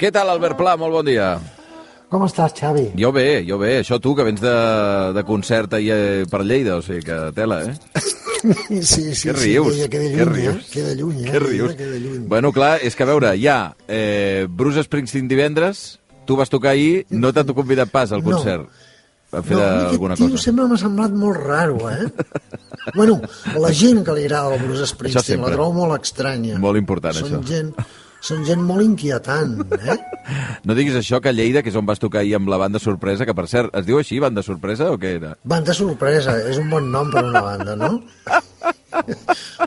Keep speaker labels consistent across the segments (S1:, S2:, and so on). S1: Què tal, Albert Pla? Molt bon dia.
S2: Com estàs, Xavi?
S1: Jo bé, jo bé. Això tu, que vens de, de concert ahir eh, per Lleida, o sigui que tela, eh?
S2: Sí, sí,
S1: Què rius?
S2: sí, queda, queda lluny,
S1: Què rius?
S2: Eh? Queda lluny, eh?
S1: Què rius?
S2: Queda lluny.
S1: Bueno, clar, és que a veure, hi ha eh, Bruce Springsteen divendres, tu vas tocar ahir, no t'ha convidat pas al
S2: No.
S1: concert. No. fer
S2: no, a mi aquest
S1: alguna
S2: tio
S1: cosa.
S2: sempre m'ha semblat molt raro, eh? bueno, a la gent que li agrada el Bruce Springsteen
S1: sempre.
S2: la trobo molt estranya.
S1: Molt important,
S2: són
S1: això.
S2: Gent, són gent molt inquietant, eh?
S1: No diguis això que a Lleida, que és on vas tocar ahir amb la banda sorpresa, que per cert, es diu així, banda sorpresa, o què era?
S2: Banda sorpresa, és un bon nom per una banda, no?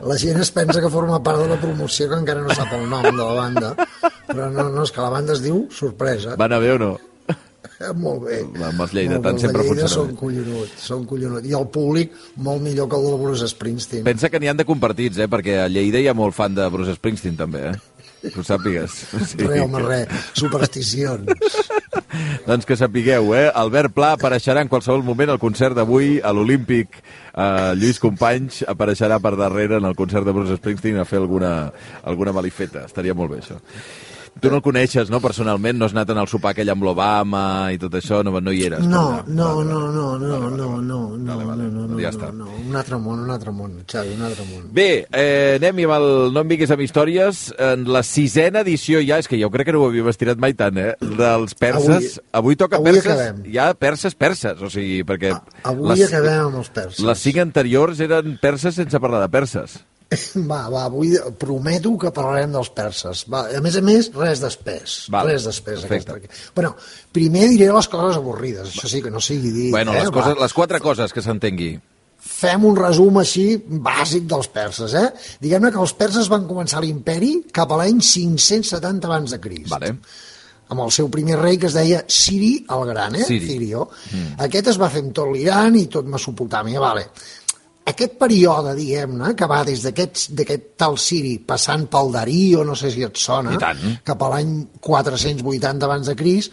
S2: La gent es pensa que forma part de la promoció que encara no sap el nom de la banda, però no, no, és que la banda es diu Sorpresa.
S1: Van a veure o no?
S2: Eh, Molt bé.
S1: Amb els lleidatans
S2: Molt bé, els de
S1: sempre
S2: Lleida
S1: funciona
S2: Són
S1: bé.
S2: collonuts, són collonuts. I el públic molt millor que el del Bruce Springsteen.
S1: Pensa que n'hi han de compartits, eh? Perquè a Lleida hi ha molt fan de Bruce Springsteen, també, eh? Que ho sàpigues. Sí.
S2: Re, home, re, supersticions.
S1: Doncs que sapigueu, eh? Albert Pla apareixerà en qualsevol moment al concert d'avui a l'Olímpic. Eh, Lluís Companys apareixerà per darrere en el concert de Bruce Springsteen a fer alguna, alguna malifeta. Estaria molt bé, això. Tu no el coneixes, no, personalment? No has anat en el sopar aquell amb l'Obama i tot això? No, no hi eres?
S2: No,
S1: per tant.
S2: no, no, no, no, no, no, no, no,
S1: Vale,
S2: no,
S1: vale.
S2: no, no,
S1: Doncs ja està.
S2: no, no, un altre món, un altre món, Xavi, un altre món.
S1: Bé, eh, anem-hi amb el No em vinguis amb històries. En la sisena edició ja, és que jo crec que no ho havíem estirat mai tant, eh? Dels perses. Avui, toca
S2: avui
S1: perses.
S2: acabem.
S1: Hi ha perses perses, o sigui, perquè...
S2: Avui acabem amb els perses.
S1: Eh, Les cinc anteriors eren perses sense parlar de perses.
S2: Va, va, avui prometo que parlarem dels perses. Va, a més a més, res d'espès.
S1: Val.
S2: Res d'espès.
S1: Perfecte.
S2: aquesta. Però primer diré les coses avorrides, això sí, que no sigui dit.
S1: bueno,
S2: eh?
S1: les, coses,
S2: Va.
S1: les quatre coses que s'entengui.
S2: fem un resum així bàsic dels perses, eh? Diguem-ne que els perses van començar l'imperi cap a l'any 570 abans de Crist.
S1: Vale.
S2: Amb el seu primer rei que es deia Siri el Gran, eh?
S1: Ciri.
S2: Cirió. Mm. Aquest es va fer amb tot l'Iran i tot Mesopotàmia, vale. Aquest període, diguem-ne, que va des d'aquest d'aquest tal Siri passant pel Darío, no sé si et sona,
S1: I tant.
S2: cap a l'any 480 abans de Crist,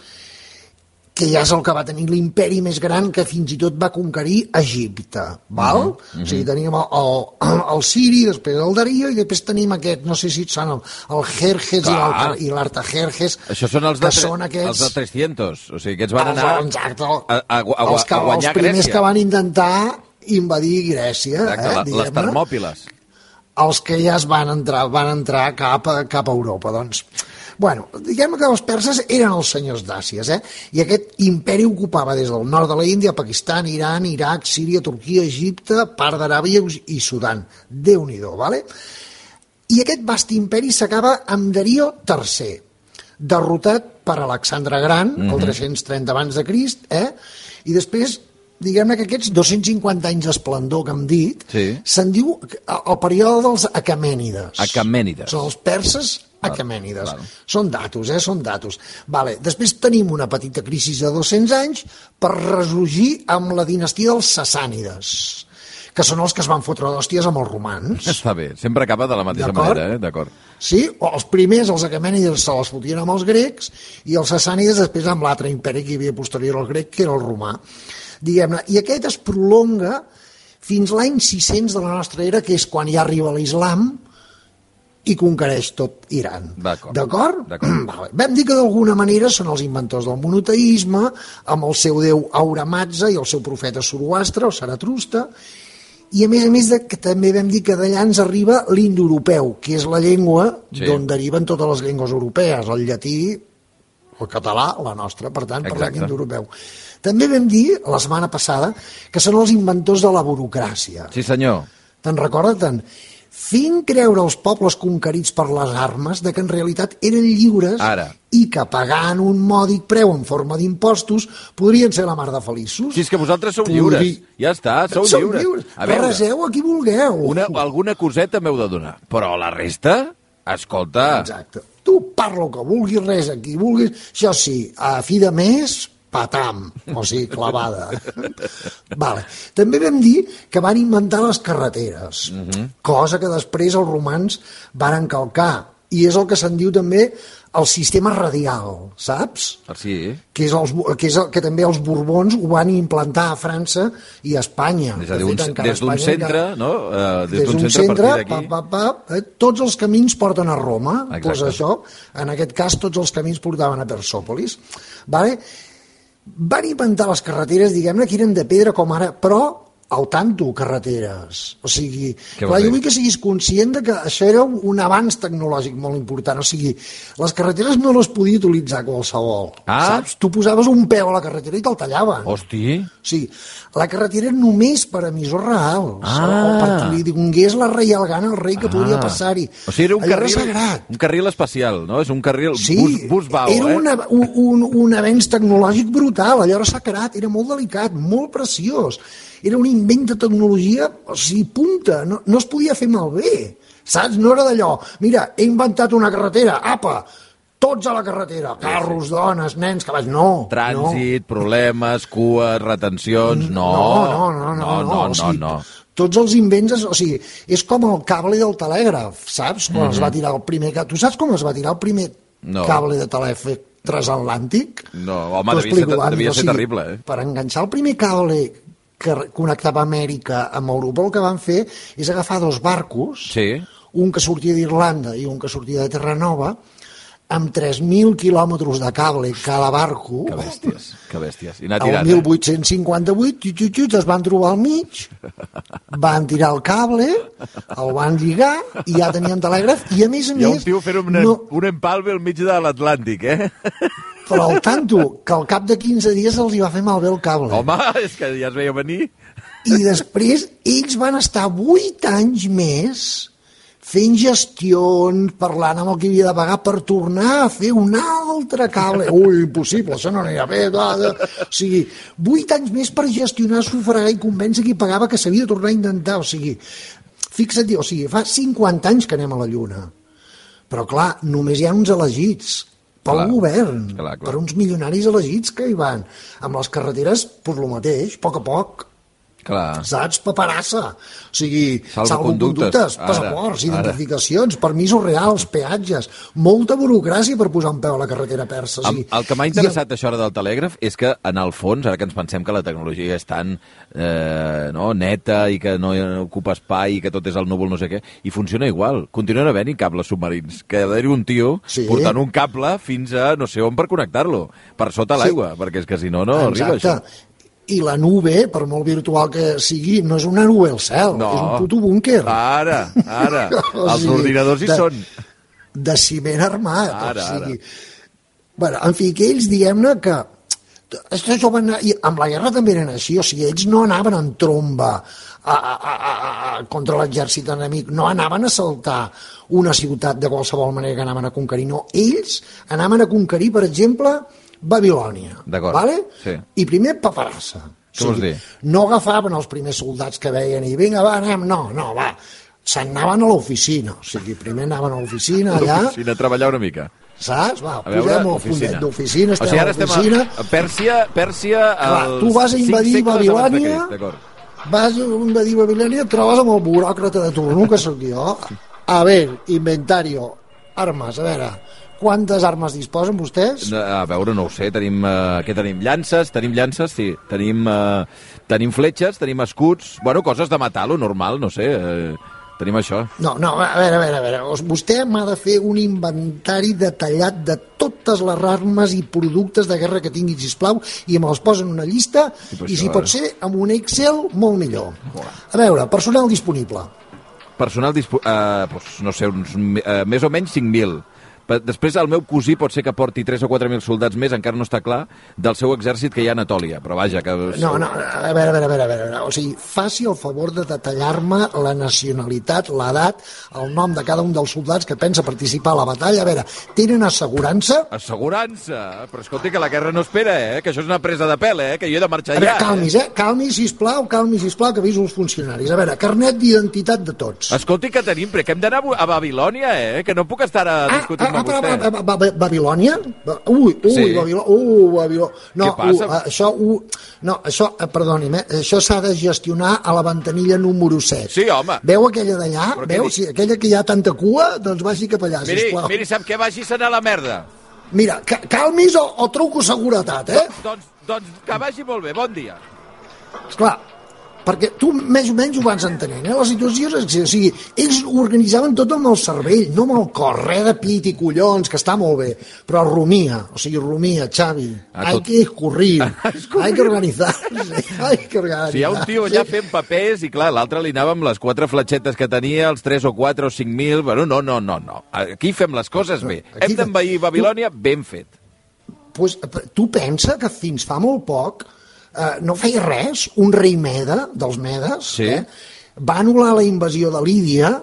S2: que ja és el que va tenir l'imperi més gran que fins i tot va conquerir Egipte, val?
S1: Mm-hmm.
S2: O sigui, teníem el, el, el Siri, després el Darío, i després tenim aquest, no sé si et sona, el, el Jerjes i
S1: Clar.
S2: l'altre- i l'Artajerjes,
S1: Això són els de,
S2: que
S1: tre-
S2: són
S1: els
S2: aquests... Ah, doncs
S1: de 300. O sigui, aquests van
S2: els-
S1: anar
S2: exacte,
S1: a, a, gu- a, gua-
S2: els, que,
S1: a guanyar
S2: els primers
S1: Grècia.
S2: que van intentar invadir Grècia,
S1: Exacte,
S2: eh,
S1: la- les
S2: diguem-ne
S1: termòpiles.
S2: els que ja es van entrar, van entrar cap a, cap a Europa, doncs. Bueno, diguem que els perses eren els senyors d'Àsies, eh? I aquest imperi ocupava des del nord de la Índia, Pakistan, Iran, Iraq, Síria, Turquia, Egipte, part d'Aràbia i Sudan. Déu-n'hi-do, vale? I aquest vast imperi s'acaba amb Darío III, derrotat per Alexandre Gran,
S1: Mhm.
S2: el 330 abans de Crist, eh? i després, diguem-ne que aquests 250 anys d'esplendor que hem dit,
S1: Sí.
S2: se'n diu el període dels Acamènides.
S1: Aquemènides.
S2: Són els perses Acamènides.
S1: val.
S2: Són datos, eh? Són datos. Vale. Després tenim una petita crisi de 200 anys per ressorgir amb la dinastia dels Sassànides, que són els que es van fotre d'hòsties amb els romans.
S1: Està bé, sempre acaba de la mateixa
S2: D'acord.
S1: manera, eh? D'acord.
S2: Sí, o els primers, els acamènides, se les fotien amb els grecs i els sassànides després amb l'altre imperi que hi havia posterior al grec, que era el romà. Diguem-ne, i aquest es prolonga fins l'any 600 de la nostra era, que és quan ja arriba l'islam i conquereix tot Iran.
S1: D'acord.
S2: D'acord? Mm,
S1: D'acord.
S2: Vale. Vam dir que d'alguna manera són els inventors del monoteisme, amb el seu déu Aurematza i el seu profeta Zoroastre, o Saratrusta, i a més a més de, que també vam dir que d'allà ens arriba l'indoeuropeu, que és la llengua
S1: Sí.
S2: sí. d'on deriven totes les llengües europees, el llatí, el català, la nostra, per tant, parlem
S1: Exacte.
S2: indoeuropeu. També vam dir, la setmana passada, que són els inventors de la burocràcia.
S1: Sí, senyor.
S2: Te'n recorda tant? Fent creure als pobles conquerits per les armes de que en realitat eren lliures
S1: Ara.
S2: i que pagant un mòdic preu en forma d'impostos podrien ser la mar de feliços.
S1: Si és que vosaltres sou
S2: Podri-
S1: lliures. Ja està, sou
S2: Som
S1: lliures.
S2: lliures. eh?
S1: A veure,
S2: Reseu a qui vulgueu.
S1: una, alguna coseta m'heu de donar. Però la resta, escolta...
S2: Exacte. Tu parla el que vulguis, res a qui vulguis. Això sí, a fi de mes, patam, o sigui, clavada. vale. També vam dir que van
S1: Mhm.
S2: inventar les carreteres, cosa que després els romans van calcar i és el que se'n diu també el sistema radial, saps?
S1: Ah, Sí,
S2: que, és els, que, és el, que també els Borbons ho van implantar a França i a Espanya.
S1: és a dir,
S2: De
S1: un,
S2: fet, encara
S1: des d'un
S2: Espanya
S1: centre,
S2: encara-
S1: no? Eh,
S2: Des d'un centre,
S1: a partir
S2: pa,
S1: d'aquí...
S2: pa, pa, eh, tots els camins porten a Roma,
S1: Exacte.
S2: doncs això, en aquest cas tots els camins portaven a Persòpolis, vale? van inventar les carreteres, diguem-ne, que eren de pedra com ara, però al tanto, carreteres. O sigui,
S1: Què
S2: clar,
S1: vol dir?
S2: jo vull que siguis conscient de que això era un, un avanç tecnològic molt important. O sigui, les carreteres no les podia utilitzar qualsevol.
S1: Ah.
S2: Saps? Tu posaves un peu a la carretera i te'l tallaven.
S1: Hosti,
S2: O sigui, la carretera era només per emissors reals,
S1: Ah.
S2: o perquè li donés la reial gana al rei que podia passar-hi.
S1: O sigui, era un
S2: Allò era
S1: carril,
S2: sagrat.
S1: un carril especial, no? És un carril
S2: Sí,
S1: bus, bus bau,
S2: era
S1: eh?
S2: una, un, un, un avenç tecnològic brutal, allò era sagrat, era molt delicat, molt preciós. Era un invent de tecnologia, o sigui, punta, no, no es podia fer malbé, saps? No era d'allò, mira, he inventat una carretera, apa, tots a la carretera, carros, dones, nens, cavalls, no. no. Mm,
S1: Trànsit, problemes, cues, retencions... No,
S2: no, no, no, no,
S1: no,
S2: o
S1: no,
S2: sigui,
S1: no.
S2: Tots els invents, es- o sigui, és com el cable del telègraf, saps? Quan es va tirar el primer... ca- Tu saps com es va tirar el primer
S1: Mhm. No.
S2: cable de telègraf transatlàntic?
S1: No, home,
S2: T'ho
S1: devia ser-
S2: explico,
S1: devia
S2: o
S1: ser
S2: sigui,
S1: terrible, eh?
S2: Per enganxar el primer cable que re- connectava Amèrica amb Europa, el que van fer és agafar dos barcos,
S1: Sí.
S2: un que sortia d'Irlanda i un que sortia de Terranova, amb 3.000 quilòmetres de cable cada barco,
S1: Que bèsties, que bèsties. I eh? anar
S2: el
S1: tirant,
S2: 1858, xut, xut, xut, es van trobar al mig, van tirar el cable, el van lligar, i ja tenien telègraf, i a més a
S1: eh? Hi ha un
S2: més...
S1: tio fent un,
S2: no,
S1: un empalme al mig de l'Atlàntic, eh?
S2: però al tanto, que al cap de 15 dies els hi va fer malbé el cable.
S1: Home, és que ja es veia venir.
S2: I després ells van estar 8 anys més fent gestions, parlant amb el que havia de pagar per tornar a fer un altre cable. Ui, impossible, això no anirà bé. Da, da. O sigui, 8 anys més per gestionar, sufragar i convèncer qui pagava que s'havia de tornar a intentar. O sigui, fixa't, o sigui, fa 50 anys que anem a la Lluna. Però, clar, només hi ha uns elegits pel
S1: Clar,
S2: govern,
S1: clar, clar.
S2: per uns milionaris elegits que hi van. Amb les carreteres, doncs el mateix, a poc a poc.
S1: Clar.
S2: Saps? Paperassa. O sigui,
S1: Salvoconductes,
S2: salvoconductes,
S1: ara,
S2: passaports,
S1: ara.
S2: identificacions, permisos reals, peatges, molta burocràcia per posar un peu a la carretera persa. O
S1: Em-
S2: sigui,
S1: El que m'ha
S2: i
S1: interessat això ara del telègraf és que, en el fons, ara que ens pensem que la tecnologia és tan eh, no, neta i que no ocupa espai i que tot és el núvol no sé què, i funciona igual. Continuen havent-hi cables submarins, que ha d'haver-hi un tio
S2: Sí.
S1: portant un cable fins a no sé on per connectar-lo, per sota
S2: Sí.
S1: l'aigua, perquè és que si no, no arriba això.
S2: I la nube, per molt virtual que sigui, no és una nube al cel,
S1: No. Ah,
S2: és un puto búnquer.
S1: Ara, ara.
S2: O
S1: Els
S2: sigui,
S1: ordinadors hi
S2: de-
S1: són.
S2: de ciment armat.
S1: Ara,
S2: o sigui, Bueno, en fi, que ells, diguem-ne que això això van anar, i amb la guerra també eren així, o sigui, ells no anaven en tromba a, a, a, a, a, contra l'exèrcit enemic, no anaven a saltar una ciutat de qualsevol manera que anaven a conquerir, no, ells anaven a conquerir, per exemple, Babilònia,
S1: D'acord,
S2: vale?
S1: sí.
S2: i primer paperassa.
S1: Què vols dir?
S2: No agafaven els primers soldats que veien i vinga, va, anem, no, no, va. Se'n anaven a l'oficina, o sigui, primer anaven a l'oficina allà,
S1: Si a treballar una mica.
S2: saps? Va,
S1: A veure,
S2: posem el
S1: oficina.
S2: fullet d'oficina, estem
S1: o sigui,
S2: a
S1: ara estem
S2: l'oficina,
S1: a, a Pèrsia, Pèrsia
S2: Clar,
S1: als
S2: tu vas a
S1: cinc
S2: invadir
S1: segles abans de
S2: Babilònia.
S1: Crist, D'acord.
S2: vas a invadir Babilònia, et trobes amb el buròcrata de turno, que sóc jo. A veure, inventario, armes, a veure, quantes armes disposen vostès?
S1: No, A veure, no ho sé, tenim... Eh, què tenim? Llances? Tenim llances, sí. Tenim, eh, tenim fletxes, tenim escuts... Bueno, coses de matar, lo normal, no sé. Eh, tenim això.
S2: No, no, a veure, a veure, a veure. Os- Vostè m'ha de fer un inventari detallat de totes les armes i productes de guerra que tingui, sisplau, i me les posa en una llista,
S1: Sí, però això,
S2: i
S1: eh?
S2: si
S1: a
S2: pot
S1: veure.
S2: ser, amb un Excel, molt millor. A veure, personal disponible.
S1: Personal dispo... Eh, doncs, no sé, uns, mi- eh, més o menys 5.000. Pe- Després el meu cosí pot ser que porti 3 o 4.000 soldats més, encara no està clar, del seu exèrcit que hi ha a Anatòlia. Però vaja, que...
S2: No, no, a veure, a veure, a veure, a veure. O sigui, faci el favor de detallar-me la nacionalitat, l'edat, el nom de cada un dels soldats que pensa participar a la batalla. A veure, tenen assegurança?
S1: Assegurança! Però escolti, que la guerra no espera, eh? Que això és una presa de pèl, eh? Que jo he de marxar
S2: A veure,
S1: ja.
S2: calmis, eh? Calmi, sisplau, calmi, sisplau, que aviso els funcionaris. A veure, carnet d'identitat de tots. Ah,
S1: Escolti, que tenim, però que hem d'anar a Bu- a Babilònia, eh? Que no puc estar a discutir parla
S2: va,
S1: vostè?
S2: va, va, va, va, ah, Babilònia? Ba- Ui, ui,
S1: Sí.
S2: sí. Babilònia. Uh, Babilò... No,
S1: Què passa?
S2: Uh, això, uh, no, això, eh, perdoni'm, eh, això s'ha de gestionar a la ventanilla número 7.
S1: Sí, home.
S2: Veu aquella d'allà?
S1: Però què
S2: Veu?
S1: dic?
S2: Sí, aquella que hi ha tanta cua, doncs vagi cap allà,
S1: Miri,
S2: sisplau.
S1: miri, sap què? Vagis a la merda.
S2: Mira, ca calmis o, o truco seguretat, eh?
S1: Doncs, doncs que vagi molt bé. Bon dia.
S2: Esclar, perquè tu més o menys ho vas entenent, eh? La situació és que, o sigui, ells organitzaven tot amb el cervell, no amb el cor, res de pit i collons, que està molt bé, però rumia, o sigui, rumia, Xavi,
S1: Ah,
S2: hay
S1: tot-
S2: que escurrir, hay que organitzar-se, hay que organitzar
S1: Si hi ha un tio allà fent papers i, clar, l'altre li anava amb les quatre fletxetes que tenia, els tres o quatre o cinc mil... Bueno, no, no, no, no. Aquí fem les coses bé.
S2: Aquí
S1: Hem
S2: fa-
S1: d'envair Babilònia ben fet.
S2: pues, p- tu pensa que fins fa molt poc eh, no feia res un rei Meda, dels Medes,
S1: Sí.
S2: eh, va anul·lar la invasió de Lídia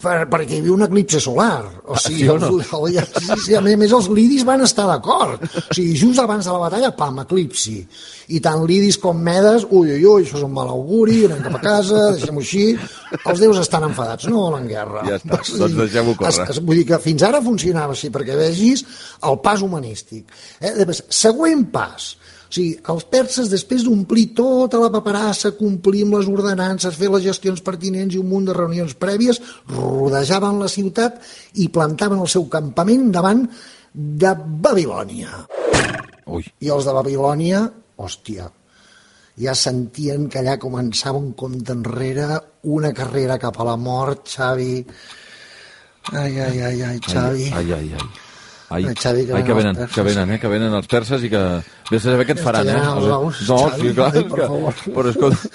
S2: per, perquè hi havia un eclipse solar. O sigui,
S1: Ah, sí o
S2: els,
S1: no?
S2: els, sí, sí, a més, a més, els lidis van estar d'acord. O sigui, just abans de la batalla, pam, eclipsi. I tant lidis com medes, ui, ui, ui, això és un mal auguri, anem cap a casa, deixem-ho així. Els déus estan enfadats, no volen guerra.
S1: Ja està, doncs deixem-ho córrer.
S2: Es, es, vull dir que fins ara funcionava així, perquè vegis el pas humanístic. Eh? Després, següent pas. O sigui, els perses, després d'omplir tota la paperassa, complir amb les ordenances, fer les gestions pertinents i un munt de reunions prèvies, rodejaven la ciutat i plantaven el seu campament davant de Babilònia.
S1: Ui.
S2: I els de Babilònia, hòstia, ja sentien que allà començava un compte enrere, una carrera cap a la mort, Xavi. Ai, ai, ai, ai, Xavi. Ai,
S1: Ai, ai, ai. Ai,
S2: Ai, Xavi, que
S1: ai, que
S2: venen
S1: venen,
S2: els perses.
S1: que venen, eh, que venen els perses i que... Vés a saber què et faran, eh?
S2: Estaran els
S1: No,
S2: ous, Xavi,
S1: sí, clar.
S2: ai, per
S1: que...
S2: favor.
S1: Però escolta,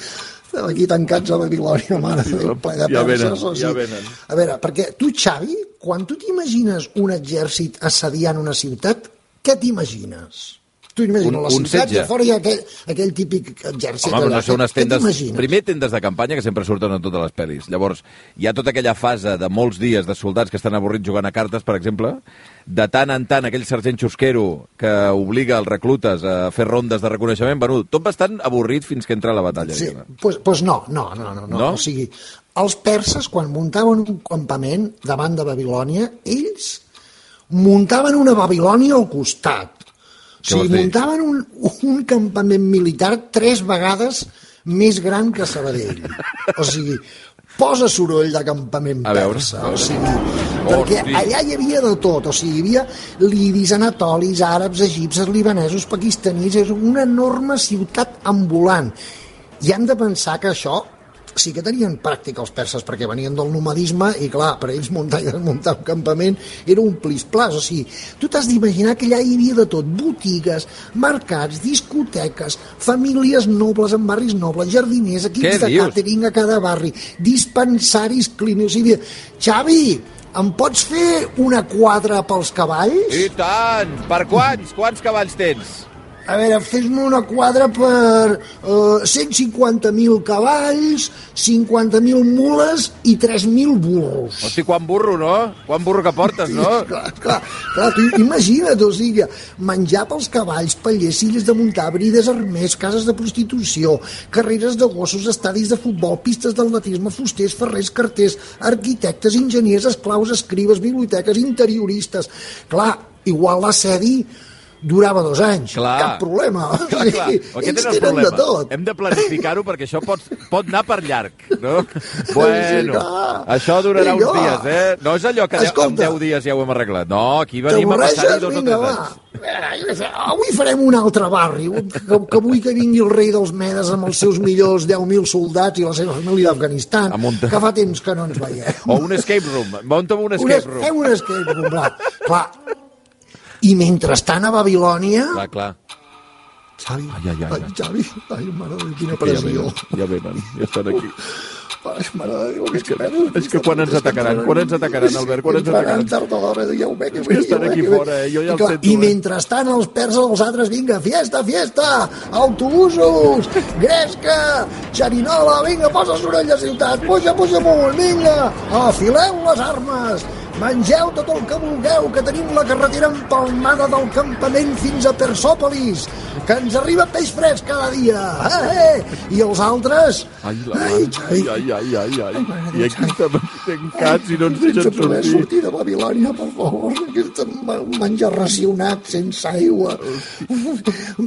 S2: Estem aquí tancats a Babilònia, mare de Déu, ple de
S1: Ja
S2: perses,
S1: venen,
S2: o sigui.
S1: ja venen.
S2: A veure, perquè tu, Xavi, quan tu t'imagines un exèrcit assediant una ciutat, què t'imagines? Tu imagines
S1: Un-
S2: la
S1: un
S2: ciutat
S1: setge.
S2: i a fora hi ha aquell, aquell típic exèrcit.
S1: Home, però
S2: allà.
S1: no sé, unes
S2: Què
S1: tendes...
S2: t'imagines?
S1: Primer, tendes de campanya, que sempre surten a totes les pel·lis. Llavors, hi ha tota aquella fase de molts dies de soldats que estan avorrits jugant a cartes, per exemple, de tant en tant aquell sergent xusquero que obliga els reclutes a fer rondes de reconeixement, bueno, tot bastant avorrit fins que entra a la batalla.
S2: Sí,
S1: diguem-ne.
S2: pues, pues no, no, no, no, no.
S1: No?
S2: O sigui, els perses, quan muntaven un campament davant de Babilònia, ells muntaven una Babilònia al costat. O
S1: vols
S2: sigui,
S1: dir?
S2: muntaven un, un campament militar tres vegades més gran que Sabadell. O sigui, posa soroll de campament
S1: A veure,
S2: persa.
S1: a veure.
S2: O sigui, perquè
S1: Hosti.
S2: allà hi havia de tot, o sigui, hi havia lidis, anatolis, àrabs, egipcis, libanesos, pakistanis, és una enorme ciutat ambulant. I hem de pensar que això sí que tenien pràctica els perses perquè venien del nomadisme i clar, per ells muntar, i muntar un campament era un plis-plas, o sigui, tu t'has d'imaginar que allà hi havia de tot, botigues, mercats, discoteques, famílies nobles en barris nobles, jardiners,
S1: Què
S2: equips de
S1: dius?
S2: càtering a cada barri, dispensaris clínics, i dir, Xavi, em pots fer una quadra pels cavalls?
S1: I tant! Per quants? Quants cavalls tens?
S2: A veure, fes-me una quadra per eh, 150.000 cavalls, 50.000 mules i 3.000 burros.
S1: Hosti, quan burro, no? Quan burro que portes, no?
S2: Sí, Clar, clar, clar, tu imagina't, o sigui, menjar pels cavalls, pallers, illes de muntar, brides, armers, cases de prostitució, carreres de gossos, estadis de futbol, pistes d'atletisme, fusters, ferrers, carters, arquitectes, enginyers, esclaus, escribes, biblioteques, interioristes... Clar, igual l'assedi durava dos anys,
S1: Clar.
S2: cap problema.
S1: Clar, clar. Aquest
S2: Ells
S1: era el
S2: tenen de
S1: problema.
S2: tot.
S1: Hem de planificar-ho perquè això pot, pot anar per llarg, no?
S2: Sí,
S1: Bueno,
S2: clar.
S1: això durarà uns
S2: Vinga, va.
S1: dies, eh? No és allò que deu- en
S2: Escolta.
S1: 10 dies ja ho hem arreglat. No, aquí venim a passar-hi
S2: T'avorreixes?
S1: dos o
S2: Vinga,
S1: tres
S2: va.
S1: anys.
S2: Eh, jo què sé, Avui farem un altre barri, que, que vull que vingui el rei dels Medes amb els seus millors 10.000 soldats i la seva família d'Afganistan,
S1: Amb un-
S2: que fa temps que no ens veiem.
S1: O un escape room. Monta'm un
S2: Un es-
S1: escape room.
S2: Fem un escape room, clar. clar. I mentrestant a Babilònia...
S1: Clar, clar.
S2: Xavi,
S1: Ai, ai, ai, ai.
S2: Xavi, ai, mare de Déu, quina
S1: Que ja
S2: pressió.
S1: venen, ja venen, ja estan aquí.
S2: Ai, mare de Déu, aquests
S1: que-
S2: mesos,
S1: és que quan ens
S2: és que
S1: atacaran?
S2: entraran-
S1: Quan ens atacaran, Albert? Quan ens
S2: entraran
S1: atacaran?
S2: tard o d'hora, ja ho veig, ja ho
S1: que
S2: veig,
S1: estan
S2: ja ho
S1: aquí
S2: veig, ja ho
S1: fora,
S2: veig.
S1: eh? Jo ja
S2: I
S1: els
S2: clar,
S1: sento, eh?
S2: I mentrestant els perses, els altres, vinga, fiesta, fiesta, autobusos, gresca, xerinola, vinga, posa soroll de ciutat, puja, puja amunt, vinga, afileu les armes, Mengeu tot el que vulgueu, que tenim la carretera empalmada del campament fins a Persòpolis, que ens arriba peix fresc cada dia. Eh, eh? I els altres?
S1: Ai, la ai, ai, ai, ai, ai, ai. I aquí estem tancats i no ens deixen
S2: Sense poder
S1: sortir.
S2: sortir de Babilònia, per favor. Aquest ma- menjar racionat, sense aigua.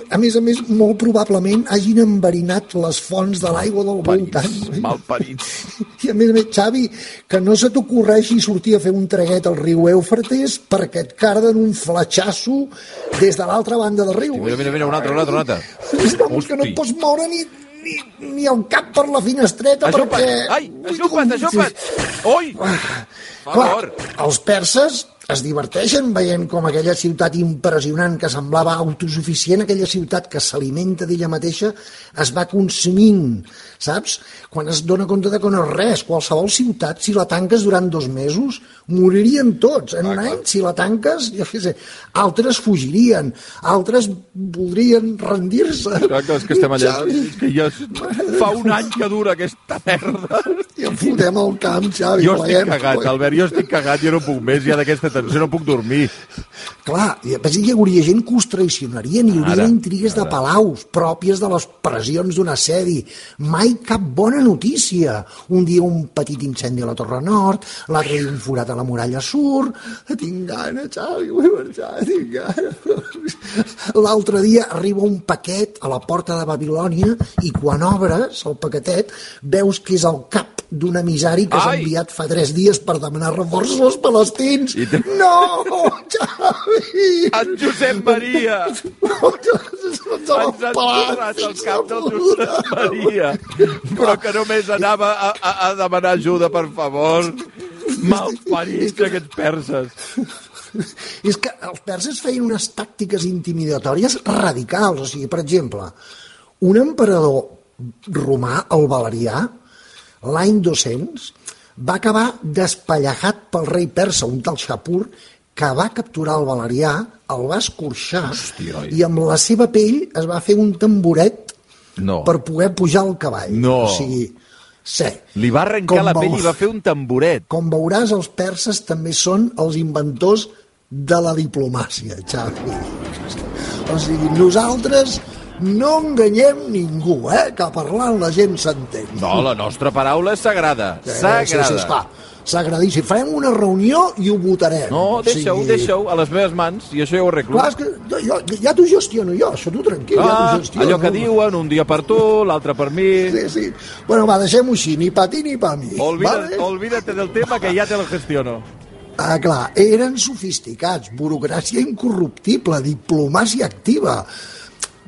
S2: A més a més, molt probablement hagin enverinat les fonts de l'aigua del voltant.
S1: Parits, malparits.
S2: I a més a més, Xavi, que no se t'ocorreixi sortir a fer un treguet al riu Eufrates perquè et carden un fletxasso des de l'altra banda del riu.
S1: Mira, mira, mira, un altre, un altre, un altre.
S2: Vamos, que no et
S1: Hosti.
S2: pots moure ni, ni, ni el cap per la finestreta
S1: Aixupa't,
S2: perquè...
S1: ai, aixupa't, aixupa't. Ui,
S2: Ah,
S1: favor.
S2: Clar, els perses es diverteixen veient com aquella ciutat impressionant que semblava autosuficient, aquella ciutat que s'alimenta d'ella mateixa, es va consumint, saps? Quan es dona compte de que no és res, qualsevol ciutat, si la tanques durant dos mesos, moririen tots. En un any, si la tanques, jo què sé, altres fugirien, altres voldrien rendir-se.
S1: Exacte, és que estem allà.
S2: Xavi,
S1: És que ja fa un any que dura aquesta merda.
S2: ja fotem el camp, Xavi.
S1: Jo estic
S2: pleguem,
S1: cagat,
S2: pleguem.
S1: Albert, jo estic cagat, jo no puc més, ja d'aquesta tensió no puc dormir.
S2: Clar, i a més hi hauria gent que us traicionaria, hi hauria
S1: Ara,
S2: intrigues de palaus pròpies de les pressions d'un assedi. Mai cap bona notícia. Un dia un petit incendi a la Torre Nord, l'altre dia un forat a la muralla sur... Tinc gana, Xavi, vull marxar, tinc gana. L'altre dia arriba un paquet a la porta de Babilònia i quan obres el paquetet veus que és el cap d'un emissari que s'ha
S1: Ai!
S2: enviat fa tres dies per demanar reforços als palestins.
S1: I Ah. te-
S2: No, Xavi!
S1: En Josep Maria!
S2: Ens
S1: Ens han tornat el cap del Josep Maria! Però que només anava a, a, a demanar ajuda, per favor! Malparits aquests perses!
S2: És que els perses feien unes tàctiques intimidatòries radicals. O sigui, per exemple, un emperador romà, el Valerià, l'any 200, va acabar despallajat pel rei persa, un tal Shapur, que va capturar el Valerià, el va escorxar
S1: Hòstia, oi.
S2: i amb la seva pell es va fer un tamboret
S1: No.
S2: per poder pujar al cavall.
S1: Oh. No. Mm.
S2: O sigui, sí.
S1: Li va arrencar
S2: Com
S1: la
S2: va-
S1: pell i va fer un tamboret.
S2: Com veuràs, els perses també són els inventors de la diplomàcia, Xavi. O sigui, nosaltres no enganyem ningú, eh? Que parlant la gent s'entén. Eh,
S1: No, la nostra paraula és sagrada.
S2: Sí, sí,
S1: Sagrada.
S2: esclar. Sagradíssim. Farem una reunió i ho votarem.
S1: No, deixa-ho,
S2: O sigui,
S1: deixa-ho, a les meves mans, i això ja ho arreglo.
S2: Clar, és que no, jo, ja t'ho gestiono jo, això tu tranquil, ja
S1: Ah,
S2: t'ho gestiono.
S1: allò que diuen, un dia per tu, l'altre per mi...
S2: Sí, sí. Bueno, va, deixem-ho així, ni per ti ni per mi.
S1: Olvida,
S2: vale?
S1: olvídate del tema que ja te lo gestiono.
S2: Ah, clar, eren sofisticats, burocràcia incorruptible, diplomàcia activa.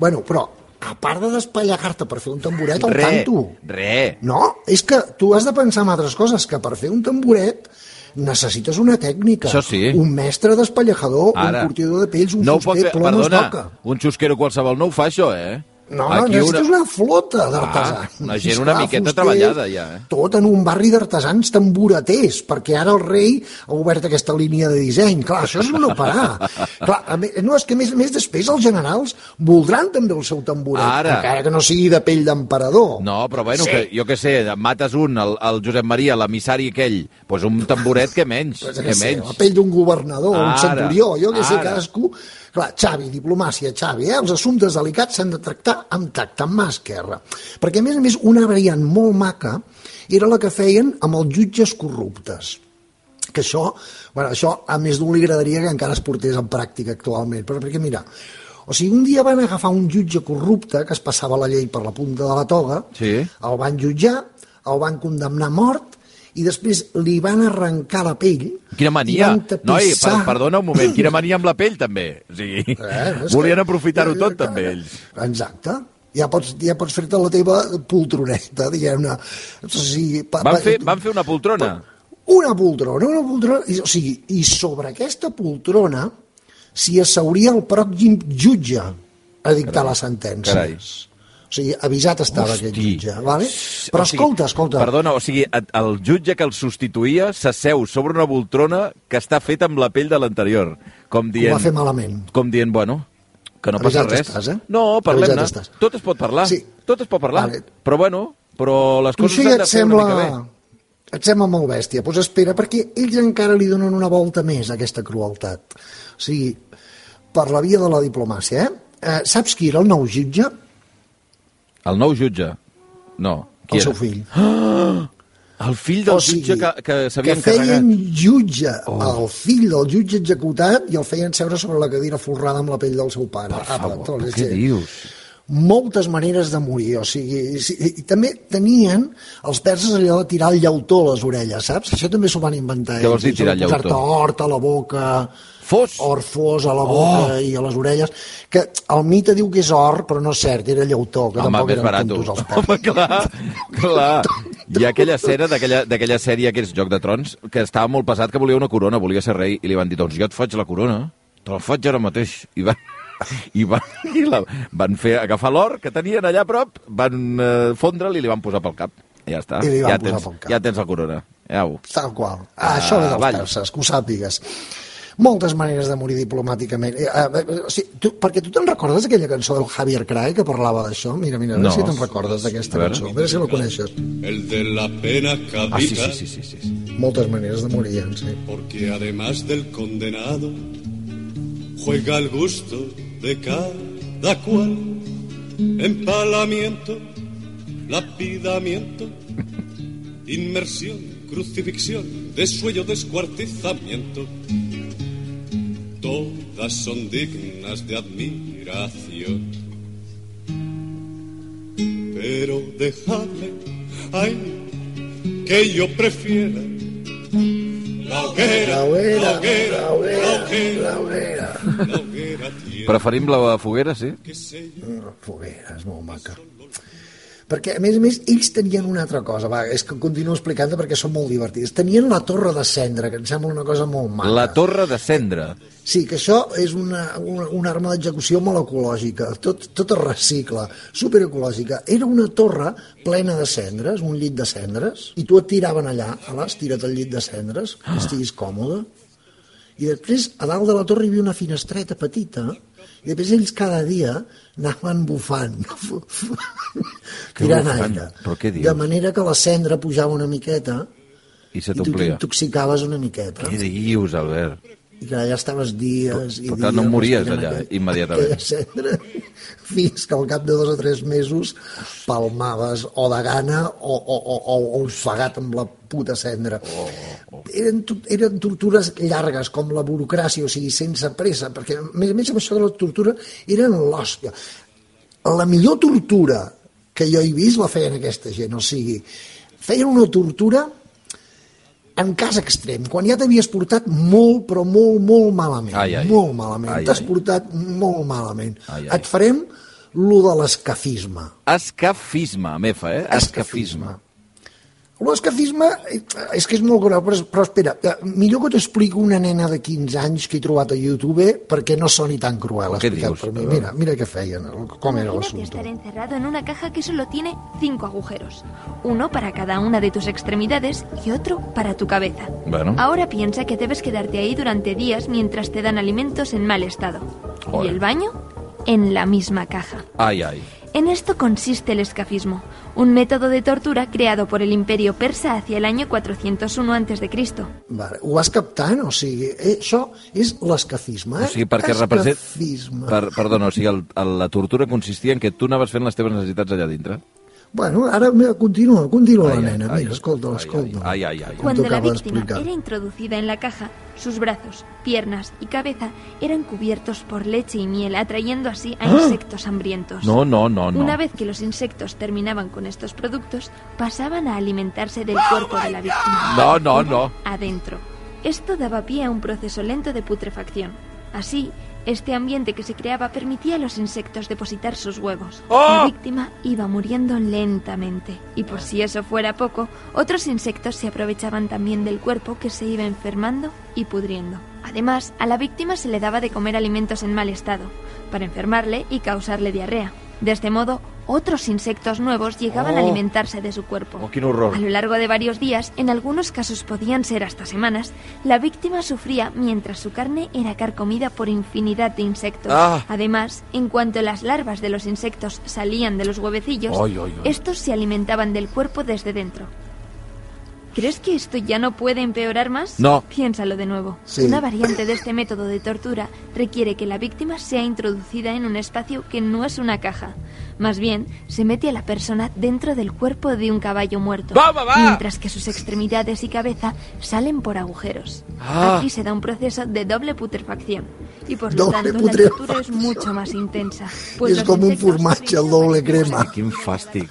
S2: Bueno, però, a part de despallar-te per fer un tamboret, al tanto.
S1: re.
S2: No, és que tu has de pensar en altres coses, que per fer un tamboret necessites una tècnica.
S1: Això sí.
S2: Un mestre despallejador,
S1: Ara.
S2: un curtidor de pells, un
S1: no ho pot
S2: fuster,
S1: fer,
S2: plom,
S1: perdona,
S2: es toca.
S1: un xusquero qualsevol no ho fa això, eh?
S2: No, no, necessites una, flota d'artesans.
S1: Ah, una gent una
S2: Clar,
S1: miqueta
S2: fusters,
S1: treballada, ja, eh?
S2: Tot en un barri d'artesans tamboreters, perquè ara el rei ha obert aquesta línia de disseny. Clar, això és un operar. Clar, a més, no, és que a més, a més després els generals voldran també el seu tamboret,
S1: Ara.
S2: encara que no sigui de pell d'emperador.
S1: No, però bueno, sí. que, jo què sé, mates un, el, el Josep Maria, l'emissari aquell, doncs un tamboret que menys,
S2: Pues,
S1: que
S2: què sé, la
S1: menys.
S2: pell d'un governador,
S1: Ara,
S2: un centurió, jo que sé,
S1: ara.
S2: cadascú... Clar, Xavi, diplomàcia, Xavi, eh? els assumptes delicats s'han de tractar amb tacte, amb mà esquerra. Perquè, a més a més, una variant molt maca era la que feien amb els jutges corruptes que això, bueno, això a més d'un li agradaria que encara es portés en pràctica actualment, però perquè mira, o sigui, un dia van agafar un jutge corrupte que es passava la llei per la punta de la toga,
S1: Sí.
S2: el van jutjar, el van condemnar a mort i després li van arrencar la pell
S1: Quina
S2: i
S1: mania.
S2: van
S1: Noi, per,
S2: tapissar-
S1: perdona un moment, quina mania amb la pell, també. O sigui,
S2: Eh, és
S1: volien
S2: que-
S1: aprofitar-ho tot,
S2: que-
S1: també, ells.
S2: Exacte. Ja pots, ja pots fer-te la teva poltroneta, diguem-ne. O sigui, pa-
S1: Van
S2: pa-
S1: fer, van fer una poltrona.
S2: una poltrona, una poltrona, i- o sigui, i sobre aquesta poltrona s'hi asseuria el pròxim jutge a dictar les sentències.
S1: carai.
S2: O sigui, avisat estava
S1: Hosti.
S2: aquest jutge, vale? Però
S1: O sigui,
S2: escolta, escolta,
S1: Perdona, o sigui, et- el jutge que el substituïa s'asseu sobre una poltrona que està feta amb la pell de l'anterior. Com
S2: ho
S1: dient...
S2: va fer malament.
S1: Com dient, bueno, que no passa
S2: Avisat
S1: res.
S2: estàs, eh?
S1: No, parlem-ne.
S2: Avisat estàs.
S1: Tot es pot parlar.
S2: Sí.
S1: Tot es pot parlar.
S2: Vale.
S1: Però bueno, però les
S2: Tu
S1: coses
S2: això ja
S1: s'han de
S2: et
S1: fer
S2: sembla...
S1: una mica bé.
S2: et sembla molt bèstia, doncs espera, perquè ells encara li donen una volta més a aquesta crueltat. O sigui, per la via de la diplomàcia, eh? eh saps qui era el nou jutge?
S1: El nou jutge? No.
S2: Qui el seu fill. Ah!
S1: El fill del o sigui, jutge que, que s'havia encarregat.
S2: Doncs Que feien jutge oh. el fill del jutge executat i el feien seure sobre la cadira folrada amb la pell del seu pare.
S1: Per favor, Apa, però què dius?
S2: moltes maneres de morir, o sigui, i també tenien els perses allò de tirar el llautó a les orelles, saps? Això també s'ho van inventar.
S1: Què vols dir tirar el llautó?
S2: Posar-te hort a la boca...
S1: Fos?
S2: Or fos a la boca oh. i a les orelles, que el mite diu que és or, però no és cert, era llautó, que
S1: Home,
S2: tampoc
S1: eren barato. tontos els perses. Home, clar, clar. I aquella escena d'aquella sèrie, que és Joc de Trons, que estava molt pesat, que volia una corona, volia ser rei, i li van dir, doncs jo et faig la corona, te la faig ara mateix. I va, i, va, i la, van fer agafar l'or que tenien allà a prop, van eh, fondre'l i li van posar pel cap. Ja està.
S2: I li van
S1: ja
S2: posar
S1: tens,
S2: pel cap.
S1: Ja tens la corona. Ja ho.
S2: Tal qual. Ah, Això ve dels
S1: vall.
S2: perses, que ho sàpigues. Moltes maneres de morir diplomàticament. Eh, eh, eh, o sigui, tu, perquè tu te'n recordes aquella cançó del Javier Crae que parlava d'això? Mira, mira, a veure
S1: No.
S2: si te'n recordes d'aquesta
S1: A veure.
S2: cançó. A veure si la coneixes.
S3: El de la pena
S1: Ah, sí,
S3: capita,
S1: sí, sí, sí, sí, sí.
S2: Moltes maneres de morir, en sí.
S3: porque además del condenado, juega el gusto de cada cual. Empalamiento, lapidamiento, inmersión, crucifixión, desuello, descuartizamiento. Todas son dignas de admiración. Pero dejadme, ay, que yo prefiera la hoguera,
S2: La hoguera,
S3: la hoguera,
S2: la hoguera,
S3: la hoguera,
S2: La hoguera.
S3: la hoguera tiene
S1: Preferim la foguera, sí?
S3: que ser
S2: La foguera, és molt maca. Perquè, a més a més, ells tenien una altra cosa. Va, és que continuo explicant-te perquè són molt divertits. Tenien la torre de cendra, que em sembla una cosa molt maca.
S1: La torre de cendra.
S2: Sí, que això és una, una, una arma d'execució molt ecològica, tot, tot es recicla, superecològica. Era una torre plena de cendres, un llit de cendres, i tu et tiraven allà, ala, estira't al llit de cendres,
S1: Ah.
S2: que estiguis còmode. I després, a dalt de la torre hi havia una finestreta petita, i després ells cada dia anaven bufant, tirant
S1: bufant?
S2: aire.
S1: Però què dius?
S2: De manera que la cendra pujava una miqueta
S1: I se
S2: i tu
S1: t'omplia.
S2: t'intoxicaves una miqueta
S1: Què dius, Albert?
S2: i que allà estaves dies i
S1: Però
S2: dies...
S1: clar, no mories
S2: respirant
S1: allà, immediatament.
S2: Aquella cendra, fins que al cap de dos o tres mesos palmaves o de gana o, o, o, o, o ofegat amb la puta cendra. Oh, oh. Eren, to- eren tortures llargues, com la burocràcia, o sigui, sense pressa, perquè a més a més amb això de la tortura eren l'hòstia. La millor tortura que jo he vist la feien aquesta gent, o sigui, feien una tortura en cas extrem, quan ja t'havies portat molt, però molt, molt malament.
S1: Ai, ai.
S2: Molt malament.
S1: Ai,
S2: T'has
S1: ai.
S2: portat molt malament.
S1: Ai, ai.
S2: Et farem lo de l'escafisme.
S1: Escafisme, mefa, eh? Escafisme.
S2: L'escafisme eh, és que és molt greu, però, però espera, eh, millor que t'explico una nena de 15 anys que he trobat a YouTube perquè no soni tan cruel.
S1: Què
S2: explicat
S1: dius?
S2: Per mi. Mira, mira què feien, com era
S4: Imagínate
S2: l'assumpte.
S4: estar encerrado en una caja que solo tiene cinco agujeros. Uno para cada una de tus extremidades y otro para tu cabeza.
S1: Bueno.
S4: Ahora piensa que debes quedarte ahí durante días mientras te dan alimentos en mal estado.
S1: Joder.
S4: Y el baño en la misma caja.
S1: Ai, ai.
S4: En esto consiste el escafismo, un método de tortura creado por el imperio persa hacia el año 401 a.C.
S2: Vale, ho vas captant? O sigui, eh, això és l'escafisme. Eh?
S1: O sigui, perquè represent...
S2: Escafisme.
S1: Per, perdona, o sigui, el, el, la tortura consistia en que tu anaves fent les teves necessitats allà dintre.
S2: Bueno, ara mira, continua,
S1: Ai,
S2: continua la
S1: ai,
S2: nena.
S1: ai,
S2: Mira, escolta,
S1: ai,
S2: escolta.
S1: ai, ai, ai, ai.
S4: Cuando la
S2: Tocaba
S4: víctima
S2: explicar.
S4: era introducida en la caja, sus brazos, piernas y cabeza eran cubiertos por leche y miel, atrayendo así a insectos hambrientos.
S1: ¡Ah! No, no, no, no.
S4: Una vez que los insectos terminaban con estos productos, pasaven a alimentarse del cuerpo de la víctima.
S1: No, no, no.
S4: Adentro. Esto daba pie a un proceso lento de putrefacción. Así, este ambiente que se creaba permitía a los insectos depositar sus huevos.
S1: ¡Oh!
S4: La víctima iba muriendo lentamente. Y por si eso fuera poco, otros insectos se aprovechaban también del cuerpo que se iba enfermando y pudriendo. Además, a la víctima se le daba de comer alimentos en mal estado, para enfermarle y causarle diarrea. De este modo, otros insectos nuevos llegaban a
S1: Oh.
S4: alimentarse de su cuerpo.
S1: Oh, quin horror.
S4: A lo largo de varios días, en algunos casos podían ser hasta semanas, la víctima sufría mientras su carne era carcomida por infinidad de insectos.
S1: Ah.
S4: Además, en cuanto las larvas de los insectos salían de los huevecillos,
S1: Ay, ay, ay.
S4: estos se alimentaban del cuerpo desde dentro. ¿Crees que esto ya no puede empeorar más?
S1: No.
S4: Piénsalo de nuevo.
S2: Sí.
S4: Una variante de este método de tortura requiere que la víctima sea introducida en un espacio que no es una caja. Más bien, se mete a la persona dentro del cuerpo de un caballo muerto.
S5: ¡Vamos, va!
S4: Mientras que sus extremidades y cabeza salen por agujeros.
S5: Ah.
S4: Aquí se da un proceso de doble putrefacción. Y por lo
S2: Doble
S4: tanto, la
S2: putrefacción.
S4: tortura es mucho más intensa. pues
S2: És
S4: los
S2: com un
S4: insectos
S2: formatge al
S4: brillan
S2: doble
S4: más
S2: crema.
S4: que
S1: Quin fàstic.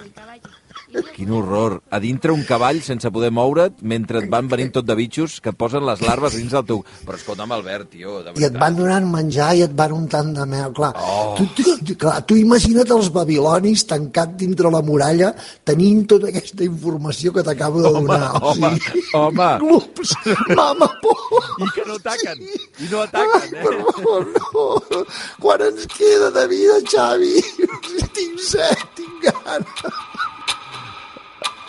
S1: Quin horror. A dintre un cavall sense poder moure't mentre et van venint tot de bitxos que et posen les larves dins del teu... Però escolta'm, Albert, tio, de veritat.
S2: I et van donant menjar i et van untant de mel, clar. Oh. Tu, tu, tu, clar, tu imagina't els babilonis tancat dintre la muralla tenint tota aquesta informació que t'acabo de donar.
S1: home, home.
S2: Clubs, mama por.
S1: I que no ataquen. I no ataquen,
S2: Ai,
S1: eh?
S2: per favor, no. Quan ens queda de vida, Xavi? Tinc set, tinc gana.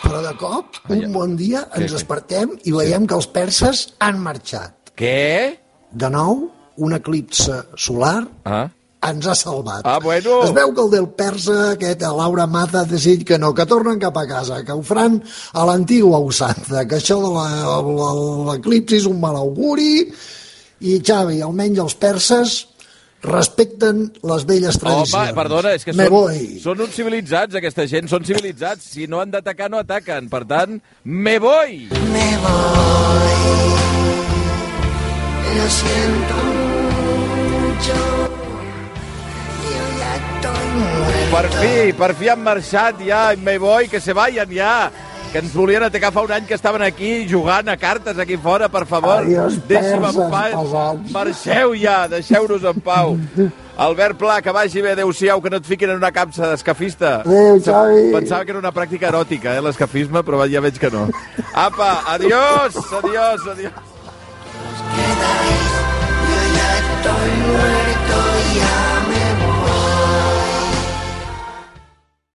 S2: Però de cop,
S1: Ai,
S2: un bon dia, ens
S1: sí.
S2: despertem i veiem que els perses han marxat.
S1: Què?
S2: De nou, un eclipse solar
S1: Ah?
S2: ens ha salvat.
S1: Ah, bueno.
S2: Es veu que el del persa, aquest, el Laura Mata, ha decidit que no, que tornen cap a casa, que ho faran a l'antigua usanza, que això de la- la- l'eclipsi és un mal auguri, i Xavi, almenys els perses respecten les velles tradicions.
S1: Home, perdona, és que
S2: Me
S1: són,
S2: voy.
S1: són uns civilitzats, aquesta gent, són civilitzats. Si no han d'atacar, no ataquen. Per tant, me voy!
S2: Me voy. Lo siento mucho. Yo ya estoy muerto.
S1: Per fi, per fi han marxat ja, i me voy, que se vayan ja. Que ens volien atacar fa un any que estaven aquí jugant a cartes aquí fora, per favor.
S2: Adiós,
S1: Deixi'm en
S2: perses
S1: pau.
S2: pesats.
S1: Marxeu ja, deixeu-nos en pau. Albert Pla, que vagi bé, adeu-siau, que no et fiquin en una capsa d'escafista.
S2: Adéu, Xavi.
S1: Pensava que era una pràctica eròtica, eh, l'escafisme, però ja veig que no. Apa, adiós, adiós, adiós.